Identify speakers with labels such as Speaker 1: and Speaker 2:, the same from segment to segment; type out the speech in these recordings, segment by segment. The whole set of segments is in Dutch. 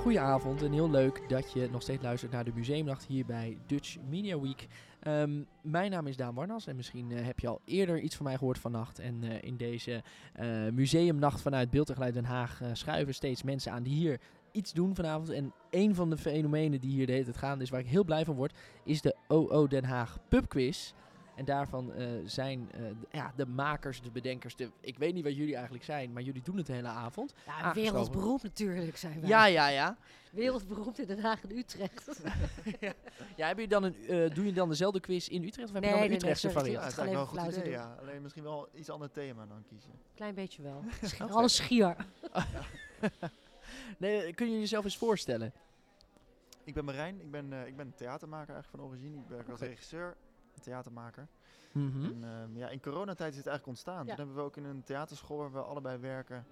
Speaker 1: Goedenavond en heel leuk dat je nog steeds luistert naar de museumnacht hier bij Dutch Media Week. Ehm, mijn naam is Daan Warnas en misschien eh, heb je al eerder iets van mij gehoord vannacht. En eh, in deze eh, museumnacht vanuit Beeld en Geluid Den Haag eh, schuiven steeds mensen aan die hier iets doen vanavond. En een van de fenomenen die hier de hele tijd gaande is, waar ik heel blij van word, is de OO Den Haag Pub Quiz. En daarvan eh, zijn eh, d- ja, de makers, de bedenkers, de, ik weet niet wat jullie eigenlijk zijn, maar jullie doen het de hele avond.
Speaker 2: Ja,
Speaker 1: Aangeschoven.
Speaker 2: wereldberoemd natuurlijk zijn wij.
Speaker 1: Ja, ja, ja.
Speaker 2: Wereldberoemd in Den Haag en Utrecht.
Speaker 1: Ja, heb je dan een, eh, doe je dan dezelfde quiz in Utrecht of heb
Speaker 2: Nee,
Speaker 1: je dan
Speaker 2: nee,
Speaker 1: een
Speaker 2: nee,
Speaker 1: Utrechtse
Speaker 2: sorry,
Speaker 1: variant?
Speaker 2: Ja,
Speaker 3: Ja,
Speaker 2: het
Speaker 3: dat
Speaker 2: is
Speaker 3: is
Speaker 2: eigenlijk
Speaker 3: eigenlijk
Speaker 2: wel een
Speaker 3: wel
Speaker 2: goed flauw
Speaker 3: goed
Speaker 2: te idee,
Speaker 3: idee,
Speaker 2: doen.
Speaker 3: ja. Alleen misschien wel iets ander thema dan kiezen.
Speaker 2: Klein beetje wel. Schier, alles schier.
Speaker 1: Nee, eh, kun je jezelf eens voorstellen?
Speaker 3: Ik ben Marijn, ik ben, eh, ik ben een theatermaker eigenlijk van origine. Ik werk als regisseur, een theatermaker.
Speaker 1: Hm? Mhm.
Speaker 3: En, ehm, ja, in coronatijd is het eigenlijk ontstaan.
Speaker 2: Ja.
Speaker 3: Toen hebben we ook in een theaterschool waar we allebei werken,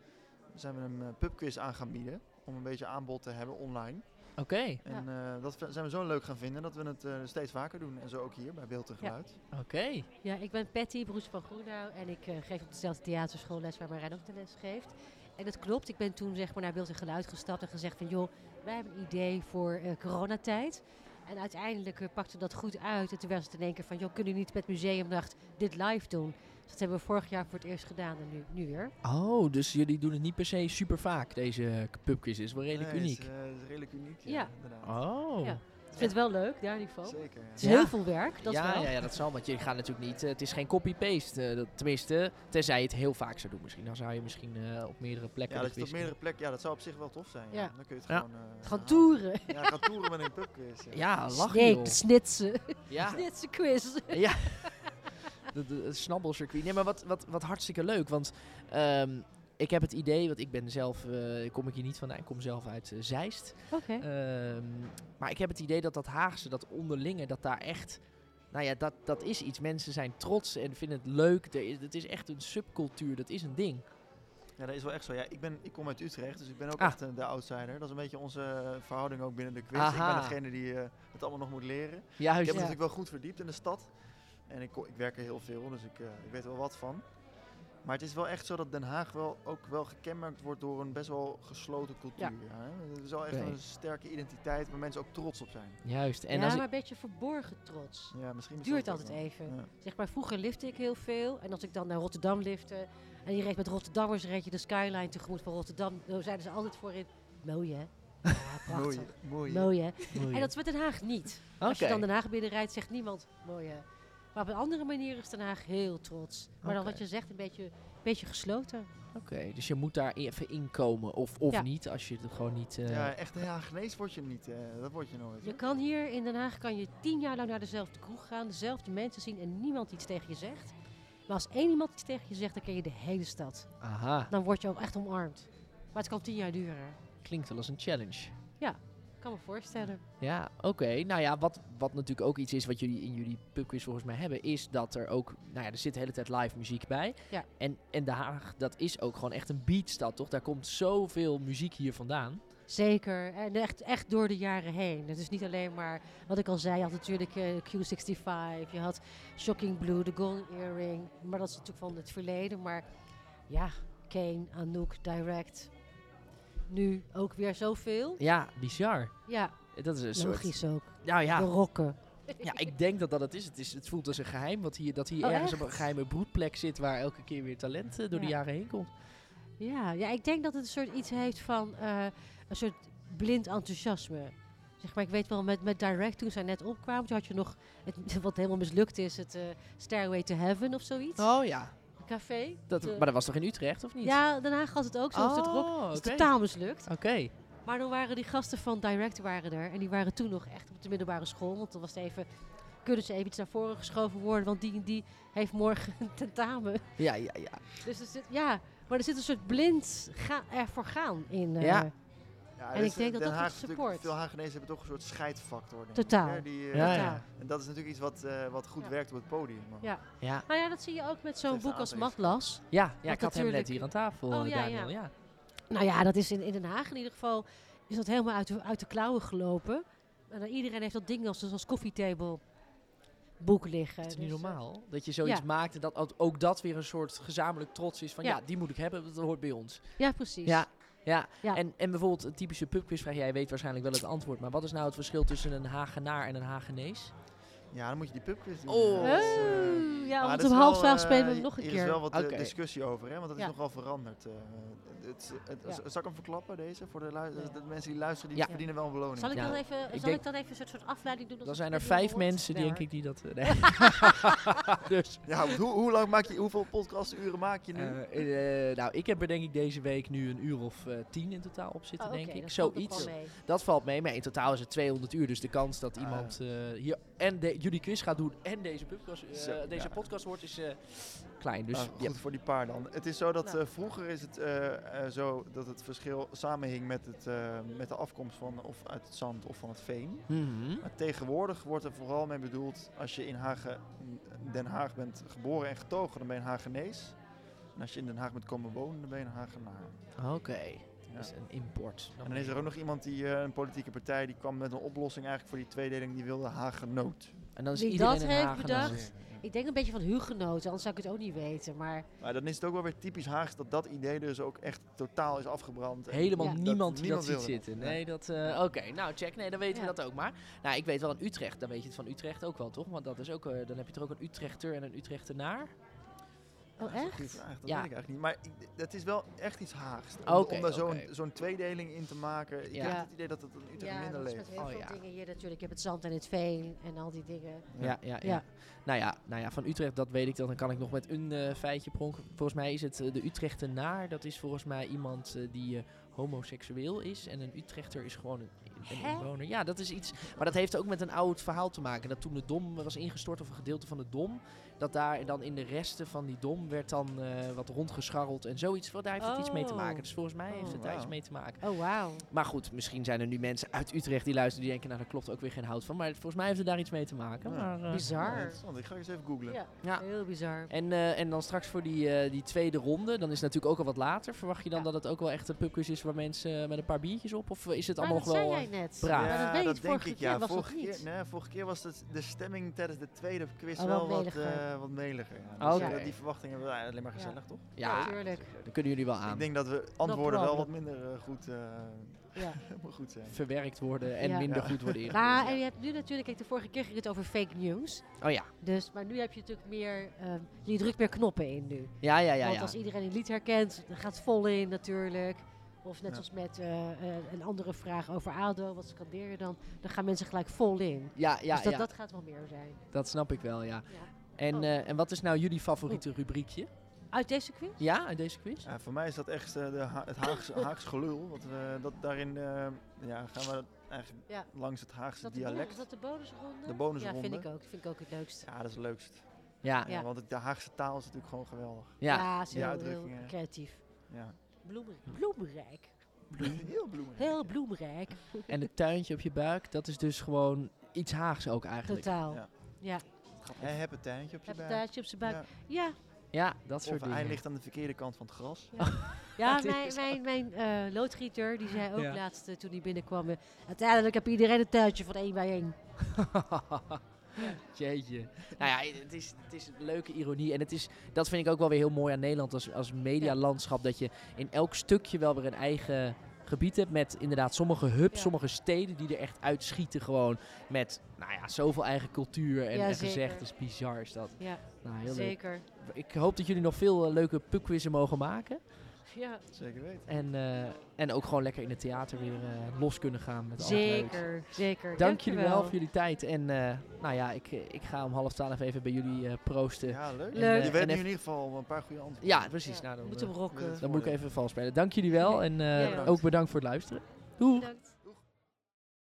Speaker 3: zijn we een eh, pubquiz aan gaan bieden. Om een beetje aanbod te hebben online.
Speaker 1: Oké.
Speaker 3: En eh, dat v- zijn we zo leuk gaan vinden dat we het eh, steeds vaker doen. En zo ook hier bij Beeld en
Speaker 2: Ja.
Speaker 3: Geluid.
Speaker 1: Oké.
Speaker 2: Ja, ik ben Patty, broers van Groenau. En ik eh, geef op dezelfde theaterschool les waar Marijn ook de les geeft. En dat klopt. Ik ben toen zeg maar, naar Beeld en Geluid gestapt en gezegd van... joh, wij hebben een idee voor eh, coronatijd. En uiteindelijk eh, pakte dat goed uit. En toen was het in één keer van... joh, kunnen jullie niet met Museumnacht dit live doen? Dus dat hebben we vorig jaar voor het eerst gedaan en nu, nu weer.
Speaker 1: Oh, dus jullie doen het niet per se super vaak, deze pubquiz. Het is wel redelijk
Speaker 3: Nee,
Speaker 1: uniek.
Speaker 3: Het is, eh, het is redelijk uniek, ja,
Speaker 2: Ja.
Speaker 3: inderdaad.
Speaker 1: Oh.
Speaker 2: Ja. Ik vind het wel leuk, daar in ieder geval.
Speaker 3: Zeker, ja.
Speaker 2: Het is
Speaker 1: Ja.
Speaker 2: heel veel werk, dat
Speaker 1: ja,
Speaker 2: wel.
Speaker 1: ja, ja, dat zal, want je gaat natuurlijk niet... eh, het is geen copy-paste. eh, dat- tenminste, tenzij je het heel vaak zou doen misschien. Dan zou je misschien eh, op meerdere plekken...
Speaker 3: Ja,
Speaker 1: de
Speaker 3: dat je het op
Speaker 1: quiz
Speaker 3: meerdere plekken... Ja, dat zou op zich wel tof zijn. Ja.
Speaker 2: Ja.
Speaker 3: Dan kun je het
Speaker 1: Ja.
Speaker 3: gewoon... eh,
Speaker 2: Gaan
Speaker 3: halen.
Speaker 2: toeren.
Speaker 3: Ja, gaan toeren met een pubquiz.
Speaker 1: doen. Ja, lach
Speaker 2: Sneek,
Speaker 1: joh.
Speaker 2: snitsen.
Speaker 1: Ja.
Speaker 2: Snitsen quiz.
Speaker 1: Ja. De, de, het snabbelcircuit. Nee, maar wat, wat, wat hartstikke leuk. Want ehm, ik heb het idee, want ik ben zelf, eh, kom ik hier niet vandaan, ik kom zelf uit eh, Zeist.
Speaker 2: Oké.
Speaker 1: Ehm, maar ik heb het idee dat dat Haagse, dat onderlinge, dat daar echt, nou ja, dat, dat is iets. Mensen zijn trots en vinden het leuk. Er is- Het is echt een subcultuur, dat is een ding.
Speaker 3: Ja, dat is wel echt zo. Ja, ik, ben, ik kom uit Utrecht, dus ik ben ook
Speaker 1: Ah.
Speaker 3: echt eh, de outsider. Dat is een beetje onze eh, verhouding ook binnen de quiz. Ik
Speaker 1: Aha. Oh,
Speaker 3: ben degene die eh, het allemaal nog moet leren. Ik heb
Speaker 1: Juist.
Speaker 3: me
Speaker 2: Ja.
Speaker 3: natuurlijk wel goed verdiept in de stad. En ik, ko- ik werk er heel veel, dus ik, eh, ik weet er wel wat van. Maar het is wel echt zo dat Den Haag wel ook wel gekenmerkt wordt door een best wel gesloten cultuur. Ja. hè. Het is wel echt
Speaker 1: Oké.
Speaker 3: een sterke identiteit waar mensen ook trots op zijn.
Speaker 1: Juist. En
Speaker 2: ja,
Speaker 1: als
Speaker 2: maar
Speaker 1: ik-
Speaker 2: een beetje verborgen trots.
Speaker 3: Ja, misschien
Speaker 2: Het
Speaker 3: is
Speaker 2: duurt
Speaker 3: dat
Speaker 2: altijd
Speaker 3: wel.
Speaker 2: even.
Speaker 3: Ja.
Speaker 2: Zeg maar, vroeger lifte ik heel veel. En als ik dan naar Rotterdam lifte... En je reed met Rotterdammers, reed je de skyline tegemoet van Rotterdam. Daar zeiden ze altijd voorin. Mooi, hè? Ja,
Speaker 3: Mooi,
Speaker 2: prachtig.
Speaker 3: mooi.
Speaker 2: Mooi, hè?
Speaker 1: Oei.
Speaker 2: En dat is met Den Haag niet. Als je
Speaker 1: Oké.
Speaker 2: dan Den Haag binnenrijdt, zegt niemand mooi, hè? Maar op een andere manier is Den Haag heel trots. Maar dan
Speaker 1: Oké.
Speaker 2: wat je zegt, een beetje, een beetje gesloten.
Speaker 1: Oké, dus je moet daar even inkomen. Of, of
Speaker 2: Ja.
Speaker 1: niet, als je het gewoon niet... eh,
Speaker 3: Ja, echt Den Haag word je niet. eh, dat word je nooit.
Speaker 2: Je kan hier in Den Haag kan je tien jaar lang naar dezelfde kroeg gaan, dezelfde mensen zien en niemand iets tegen je zegt. Maar als één iemand iets tegen je zegt, dan ken je de hele stad.
Speaker 1: Aha,
Speaker 2: Dan word je ook echt omarmd. Maar het kan tien jaar duren.
Speaker 1: klinkt wel als een challenge.
Speaker 2: Ik kan me voorstellen.
Speaker 1: Ja, oké. Nou ja, wat, wat natuurlijk ook iets is wat jullie in jullie pubquiz volgens mij hebben, is dat er ook, nou ja, er zit de hele tijd live muziek bij.
Speaker 2: Ja.
Speaker 1: En, en Den Haag, dat is ook gewoon echt een beatstad, toch? Daar komt zoveel muziek hier vandaan.
Speaker 2: Zeker. En echt, echt door de jaren heen. Het is niet alleen maar wat ik al zei. Je had natuurlijk eh, Q65. Je had Shocking Blue, The Golden Earring. Maar dat is natuurlijk van het verleden. Maar ja, Kane, Anouk, Direct. Nu ook weer zoveel.
Speaker 1: Ja, bizar.
Speaker 2: Ja,
Speaker 1: Dat is een soort...
Speaker 2: logisch ook.
Speaker 1: Nou
Speaker 2: De
Speaker 1: ja,
Speaker 2: rokken.
Speaker 1: ja, ik denk dat dat het is. Het, is, het voelt als een geheim, wat hier, dat hier
Speaker 2: Oh,
Speaker 1: ergens
Speaker 2: echt?
Speaker 1: op een geheime broedplek zit waar elke keer weer talent eh, door de
Speaker 2: Ja.
Speaker 1: jaren heen komt.
Speaker 2: Ja, ja, ik denk dat het een soort iets heeft van eh, een soort blind enthousiasme. Zeg maar, ik weet wel, met, met Direct toen zij net opkwamen, toen had je nog, het, wat helemaal mislukt is, het eh, Stairway to Heaven of zoiets.
Speaker 1: Oh ja,
Speaker 2: Café.
Speaker 1: dat,
Speaker 2: De-
Speaker 1: maar dat was toch in Utrecht, of niet?
Speaker 2: Ja, Den Haag had het ook, zo'n
Speaker 1: oh,
Speaker 2: soort rock.
Speaker 1: oké.
Speaker 2: Dat is totaal mislukt.
Speaker 1: Oké.
Speaker 2: Maar dan waren die gasten van Direct waren er. En die waren toen nog echt op de middelbare school. Want dan was het even, kunnen ze even iets naar voren geschoven worden? Want die en die heeft morgen een tentamen.
Speaker 1: Ja, ja, ja.
Speaker 2: Dus er zit, ja, maar er zit een soort blind ga, ervoor gaan in. eh,
Speaker 1: Ja.
Speaker 3: Ja, Ja,
Speaker 2: En
Speaker 3: dus
Speaker 2: ik denk dat
Speaker 3: Den
Speaker 2: dat
Speaker 3: Haag
Speaker 2: het
Speaker 3: is natuurlijk-
Speaker 2: support.
Speaker 3: Veel Haagenezen hebben toch een soort scheidfactor. denk ik,
Speaker 2: Totaal.
Speaker 3: hè, die, eh,
Speaker 1: Ja,
Speaker 2: Totaal.
Speaker 1: ja.
Speaker 3: En dat is natuurlijk iets wat, eh, wat goed
Speaker 2: Ja.
Speaker 3: werkt op het podium. ook.
Speaker 2: Ja.
Speaker 1: Ja,
Speaker 2: Nou ja, dat zie je ook met zo'n
Speaker 3: Tegen
Speaker 2: boek als
Speaker 3: aanwezig.
Speaker 2: Matlas.
Speaker 1: ja, ja
Speaker 2: Want
Speaker 1: ik had hem net
Speaker 2: natuurlijk-
Speaker 1: hier aan tafel,
Speaker 2: Oh,
Speaker 1: eh,
Speaker 2: ja,
Speaker 1: Daniel. Ja.
Speaker 2: Nou ja, dat is in, in Den Haag in ieder geval is dat helemaal uit de, uit de klauwen gelopen. En dan iedereen heeft dat ding als, als koffietable boek liggen.
Speaker 1: Het is niet
Speaker 2: Dus, eh,
Speaker 1: normaal dat je zoiets
Speaker 2: ja.
Speaker 1: maakt en dat ook- ook dat weer een soort gezamenlijk trots is van ja,
Speaker 2: Ja.
Speaker 1: die moet ik hebben, dat hoort bij ons.
Speaker 2: ja, precies.
Speaker 1: Ja, ja.
Speaker 2: Ja.
Speaker 1: En, en bijvoorbeeld een typische pubquizvraag, jij weet waarschijnlijk wel het antwoord, maar wat is nou het verschil tussen een Hagenaar en een Hagenees?
Speaker 3: Ja, dan moet je die pubquiz doen.
Speaker 1: Oh.
Speaker 3: eh, dat is, eh,
Speaker 2: Oh, ja,
Speaker 3: maar
Speaker 2: want
Speaker 3: dat is
Speaker 2: om half
Speaker 3: wel,
Speaker 2: twaalf
Speaker 3: eh,
Speaker 2: spelen we hem nog een
Speaker 3: Hier
Speaker 2: keer.
Speaker 3: is wel wat eh,
Speaker 1: Oké.
Speaker 3: discussie over, hè, want dat is
Speaker 2: Ja.
Speaker 3: nogal veranderd. eh, het, het,
Speaker 2: Ja.
Speaker 3: Zal ik hem verklappen, deze? Voor de, lui-
Speaker 2: Ja.
Speaker 3: de mensen die luisteren, die
Speaker 1: Ja.
Speaker 3: verdienen wel een beloning.
Speaker 2: Zal ik,
Speaker 1: Ja,
Speaker 2: dan even, zal
Speaker 1: denk-
Speaker 2: ik dan even een soort, soort afleiding doen? als
Speaker 1: Dan
Speaker 2: het
Speaker 1: zijn er
Speaker 2: niet meer
Speaker 1: vijf
Speaker 2: hoort?
Speaker 1: mensen,
Speaker 2: Nee,
Speaker 1: denk
Speaker 2: hoor.
Speaker 1: ik, die dat... eh, nee. dus,
Speaker 3: Ja, want hoe, hoe lang maak je, hoeveel podcasturen maak je nu?
Speaker 1: eh, eh, nou, ik heb er denk ik deze week nu een uur of eh, tien in totaal op zitten,
Speaker 2: Oh, oké,
Speaker 1: denk ik.
Speaker 2: dat valt ook wel
Speaker 1: Zoiets.
Speaker 2: mee.
Speaker 1: Dat valt mee, maar in totaal is het 200 uur. Dus de kans dat
Speaker 3: Ah.
Speaker 1: iemand eh, hier en de- jullie quiz gaat doen en deze, podcast, eh,
Speaker 3: Zo,
Speaker 1: deze
Speaker 3: ja.
Speaker 1: podcast wordt, is eh, klein. Dus
Speaker 3: Ah,
Speaker 1: ja.
Speaker 3: goed voor die paar dan. Het is zo dat
Speaker 2: Nou.
Speaker 3: eh, vroeger is het eh, eh, zo dat het verschil samenhing met, het, eh, met de afkomst van of uit het zand of van het veen.
Speaker 1: Mhm.
Speaker 3: Maar tegenwoordig wordt er vooral mee bedoeld als je in Hagen, Den Haag bent geboren en getogen, dan ben je een Hagenees. En als je in Den Haag bent komen wonen, dan ben je een Hagenaar.
Speaker 1: Oké,
Speaker 3: Ja.
Speaker 1: dat is een import.
Speaker 3: En dan is er ook nog iemand die, eh, een politieke partij, die kwam met een oplossing eigenlijk voor die tweedeling, die wilde Hagenoot.
Speaker 1: En dan is
Speaker 2: Wie
Speaker 1: iedereen
Speaker 2: dat
Speaker 1: een
Speaker 2: heeft
Speaker 1: Hagenaar.
Speaker 2: bedacht? Ik denk een beetje van hugenoten, anders zou ik het ook niet weten. Maar
Speaker 3: Maar dan is het ook wel weer typisch Haags dat dat idee dus ook echt totaal is afgebrand. En
Speaker 1: Helemaal
Speaker 2: Ja.
Speaker 1: niemand die dat
Speaker 3: niemand
Speaker 1: ziet
Speaker 3: wilde dat.
Speaker 1: zitten.
Speaker 3: Nee.
Speaker 1: Nee, dat... eh, Oké, nou check. Nee, dan weten we
Speaker 2: Ja.
Speaker 1: dat ook maar. Nou, ik weet wel in Utrecht. Dan weet je het van Utrecht ook wel, toch? Want dat is ook... eh, dan heb je er ook een Utrechter en een Utrechtenaar.
Speaker 2: Oh,
Speaker 3: dat is een
Speaker 2: echt?
Speaker 3: goede vraag, dat
Speaker 1: Ja.
Speaker 3: weet ik eigenlijk niet. Maar ik- dat is wel echt iets Haags. Om,
Speaker 1: Oké,
Speaker 3: om daar zo'n
Speaker 1: oké.
Speaker 3: zo'n tweedeling in te maken. Ik
Speaker 1: Ja.
Speaker 3: heb het idee dat het in Utrecht
Speaker 2: ja,
Speaker 3: minder
Speaker 2: dat is
Speaker 3: leeft.
Speaker 2: met heel
Speaker 1: Oh,
Speaker 2: veel
Speaker 1: ja.
Speaker 2: dingen hier natuurlijk. Je hebt het zand en het veen en al die dingen.
Speaker 1: Ja, ja, ja.
Speaker 2: Ja.
Speaker 1: Nou, ja, nou ja, van Utrecht, dat weet ik dan. Dan kan ik nog met een eh, feitje pronken. Volgens mij is het eh, de Utrechtenaar. Dat is volgens mij iemand eh, die eh, homoseksueel is. En een Utrechter is gewoon een, een
Speaker 2: Hè?
Speaker 1: inwoner. Ja, dat is iets. Maar dat heeft ook met een oud verhaal te maken. Dat toen de dom was ingestort, of een gedeelte van de dom. Dat daar dan in de resten van die dom werd dan eh, wat rondgescharreld en zoiets. Wel, daar heeft het iets mee te
Speaker 2: Oh.
Speaker 1: maken. Dus volgens mij heeft
Speaker 2: Oh,
Speaker 1: het daar iets
Speaker 3: wauw.
Speaker 1: mee te maken.
Speaker 2: Oh, wauw.
Speaker 1: Maar goed, misschien zijn er nu mensen uit Utrecht die luisteren. Die denken, nou, daar klopt ook weer geen hout van. Maar volgens mij heeft het daar iets mee te maken.
Speaker 3: Ja.
Speaker 1: Maar, eh,
Speaker 3: Ja,
Speaker 2: Bizar.
Speaker 3: interessant. Ik ga eens even googlen.
Speaker 2: Ja,
Speaker 1: Ja.
Speaker 2: heel bizar.
Speaker 1: En, eh, en dan straks voor die, eh, die tweede ronde, dan is het natuurlijk ook al wat later. Verwacht je dan
Speaker 2: Ja.
Speaker 1: dat het ook wel echt een pubquiz is waar mensen eh, met een paar biertjes op? Of is het
Speaker 2: Maar
Speaker 1: allemaal
Speaker 2: dat
Speaker 1: nog wel...
Speaker 2: zei
Speaker 1: eh,
Speaker 2: jij net.
Speaker 1: braaf.
Speaker 2: Maar
Speaker 3: Ja,
Speaker 2: dat weet
Speaker 3: dat
Speaker 2: ik
Speaker 3: denk
Speaker 2: vorige
Speaker 3: ik.
Speaker 2: keer
Speaker 3: Ja,
Speaker 2: was
Speaker 3: vorige
Speaker 2: dat niet.
Speaker 3: keer, nee, vorige keer was het de stemming tijdens de tweede
Speaker 2: Oh,
Speaker 3: quiz
Speaker 2: wat
Speaker 3: wel wat,
Speaker 2: meliger.
Speaker 3: eh wat meliger. Ja.
Speaker 1: Ah,
Speaker 3: Dus, eh,
Speaker 1: oké.
Speaker 3: die verwachtingen hebben we alleen maar
Speaker 2: Ja.
Speaker 3: gezellig, toch?
Speaker 1: Ja,
Speaker 2: Natuurlijk.
Speaker 1: dan kunnen jullie wel aan.
Speaker 3: Ik denk dat we antwoorden wel wat
Speaker 2: problem.
Speaker 3: minder eh, goed, eh,
Speaker 2: Ja.
Speaker 3: goed zijn.
Speaker 1: Verwerkt worden en
Speaker 2: Ja.
Speaker 1: minder
Speaker 3: Ja.
Speaker 1: goed worden ingevuld.
Speaker 2: Nou, en je hebt nu natuurlijk, kijk, de vorige keer ging het over fake news.
Speaker 1: Oh ja,
Speaker 2: Dus, maar nu heb je natuurlijk meer, ehm, je drukt meer knoppen in nu.
Speaker 1: ja, ja, ja.
Speaker 2: Want
Speaker 1: ja.
Speaker 2: als iedereen een lied herkent, dan gaat het vol in natuurlijk. Of net
Speaker 3: Ja.
Speaker 2: als met eh, eh, een andere vraag over ADO, wat scandeer je dan? Dan gaan mensen gelijk vol in.
Speaker 1: Ja, ja,
Speaker 2: dus dat,
Speaker 1: ja. Dat...
Speaker 2: dat gaat wel meer zijn.
Speaker 1: snap ik wel, ja.
Speaker 2: Ja.
Speaker 1: En,
Speaker 2: Oh.
Speaker 1: eh, en wat is nou jullie favoriete rubriekje?
Speaker 2: Uit deze quiz?
Speaker 1: Ja, uit deze quiz?
Speaker 3: Ja, voor mij is dat echt eh, de Ha- het Haagse, Haags gelul. Want we, dat daarin eh, ja, gaan we eigenlijk
Speaker 2: Ja.
Speaker 3: langs het Haagse
Speaker 2: Is dat, de, bo-
Speaker 3: dialect.
Speaker 2: is dat de bonusronde?
Speaker 3: De bonusronde.
Speaker 2: Ja, vind ik ook. vind ik ook het leukste.
Speaker 3: Ja, dat is het leukst.
Speaker 1: Ja,
Speaker 3: Ja.
Speaker 1: ja.
Speaker 3: want het- de Haagse taal is natuurlijk gewoon geweldig.
Speaker 2: Ja,
Speaker 1: ja. eh.
Speaker 2: is heel, heel
Speaker 3: uitdrukkingen.
Speaker 2: creatief.
Speaker 3: Ja.
Speaker 2: Bloemer- bloemrijk.
Speaker 3: Heel bloemig.
Speaker 2: Heel bloemrijk.
Speaker 1: En het tuintje op je buik, dat is dus gewoon iets Haags ook eigenlijk.
Speaker 2: Totaal.
Speaker 3: Ja.
Speaker 2: Ja.
Speaker 3: Hij heb het tuintje op je
Speaker 2: Heb een
Speaker 3: buik.
Speaker 2: taartje op zijn buik.
Speaker 3: Ja.
Speaker 2: Ja,
Speaker 1: Ja, dat soort
Speaker 3: Of hij
Speaker 1: dingen.
Speaker 3: ligt aan de verkeerde kant van het gras.
Speaker 2: ja
Speaker 1: Het is
Speaker 2: mijn,
Speaker 1: zo.
Speaker 2: mijn, mijn eh, loodgieter die zei ook
Speaker 1: Ja.
Speaker 2: laatst eh, toen hij binnenkwam. eh, uiteindelijk heb iedereen een tuintje van één bij één.
Speaker 1: Jeetje. Nou ja, het is, het is een leuke ironie. En het is, dat vind ik ook wel weer heel mooi aan Nederland als, als medialandschap. Dat je in elk stukje wel weer een eigen gebied hebt. Met inderdaad sommige hubs,
Speaker 2: Ja.
Speaker 1: sommige steden die er echt uitschieten. Gewoon met, nou ja, zoveel eigen cultuur en,
Speaker 2: Ja,
Speaker 1: en
Speaker 2: zeker.
Speaker 1: gezegd. Dus bizar is dat.
Speaker 2: Ja,
Speaker 1: Nou, heel leuk.
Speaker 2: zeker.
Speaker 1: Ik hoop dat jullie nog veel eh, leuke pubquizzen mogen maken.
Speaker 2: Ja,
Speaker 3: Zeker weten.
Speaker 1: En, eh, en ook gewoon lekker in het theater weer eh, los kunnen gaan met alle leuks.
Speaker 2: zeker, zeker.
Speaker 1: Dank jullie wel
Speaker 2: Dankjewel.
Speaker 1: voor jullie tijd. En eh, nou ja, ik, ik ga om half twaalf even bij jullie eh, proosten.
Speaker 3: Ja, leuk.
Speaker 2: Leuk.
Speaker 1: En, eh,
Speaker 3: Je weet
Speaker 1: en
Speaker 3: nu in
Speaker 1: even-
Speaker 3: ieder geval een paar goede antwoorden.
Speaker 1: Ja, precies.
Speaker 2: Ja,
Speaker 1: Nou,
Speaker 2: we
Speaker 1: dan,
Speaker 2: moeten
Speaker 1: eh,
Speaker 2: hem rocken.
Speaker 3: met het
Speaker 1: dan moet ik
Speaker 3: Mooi.
Speaker 1: even vals spelen. Dank jullie wel en eh,
Speaker 2: Ja, ja.
Speaker 1: ook bedankt voor het luisteren. Doei!
Speaker 2: Bedankt.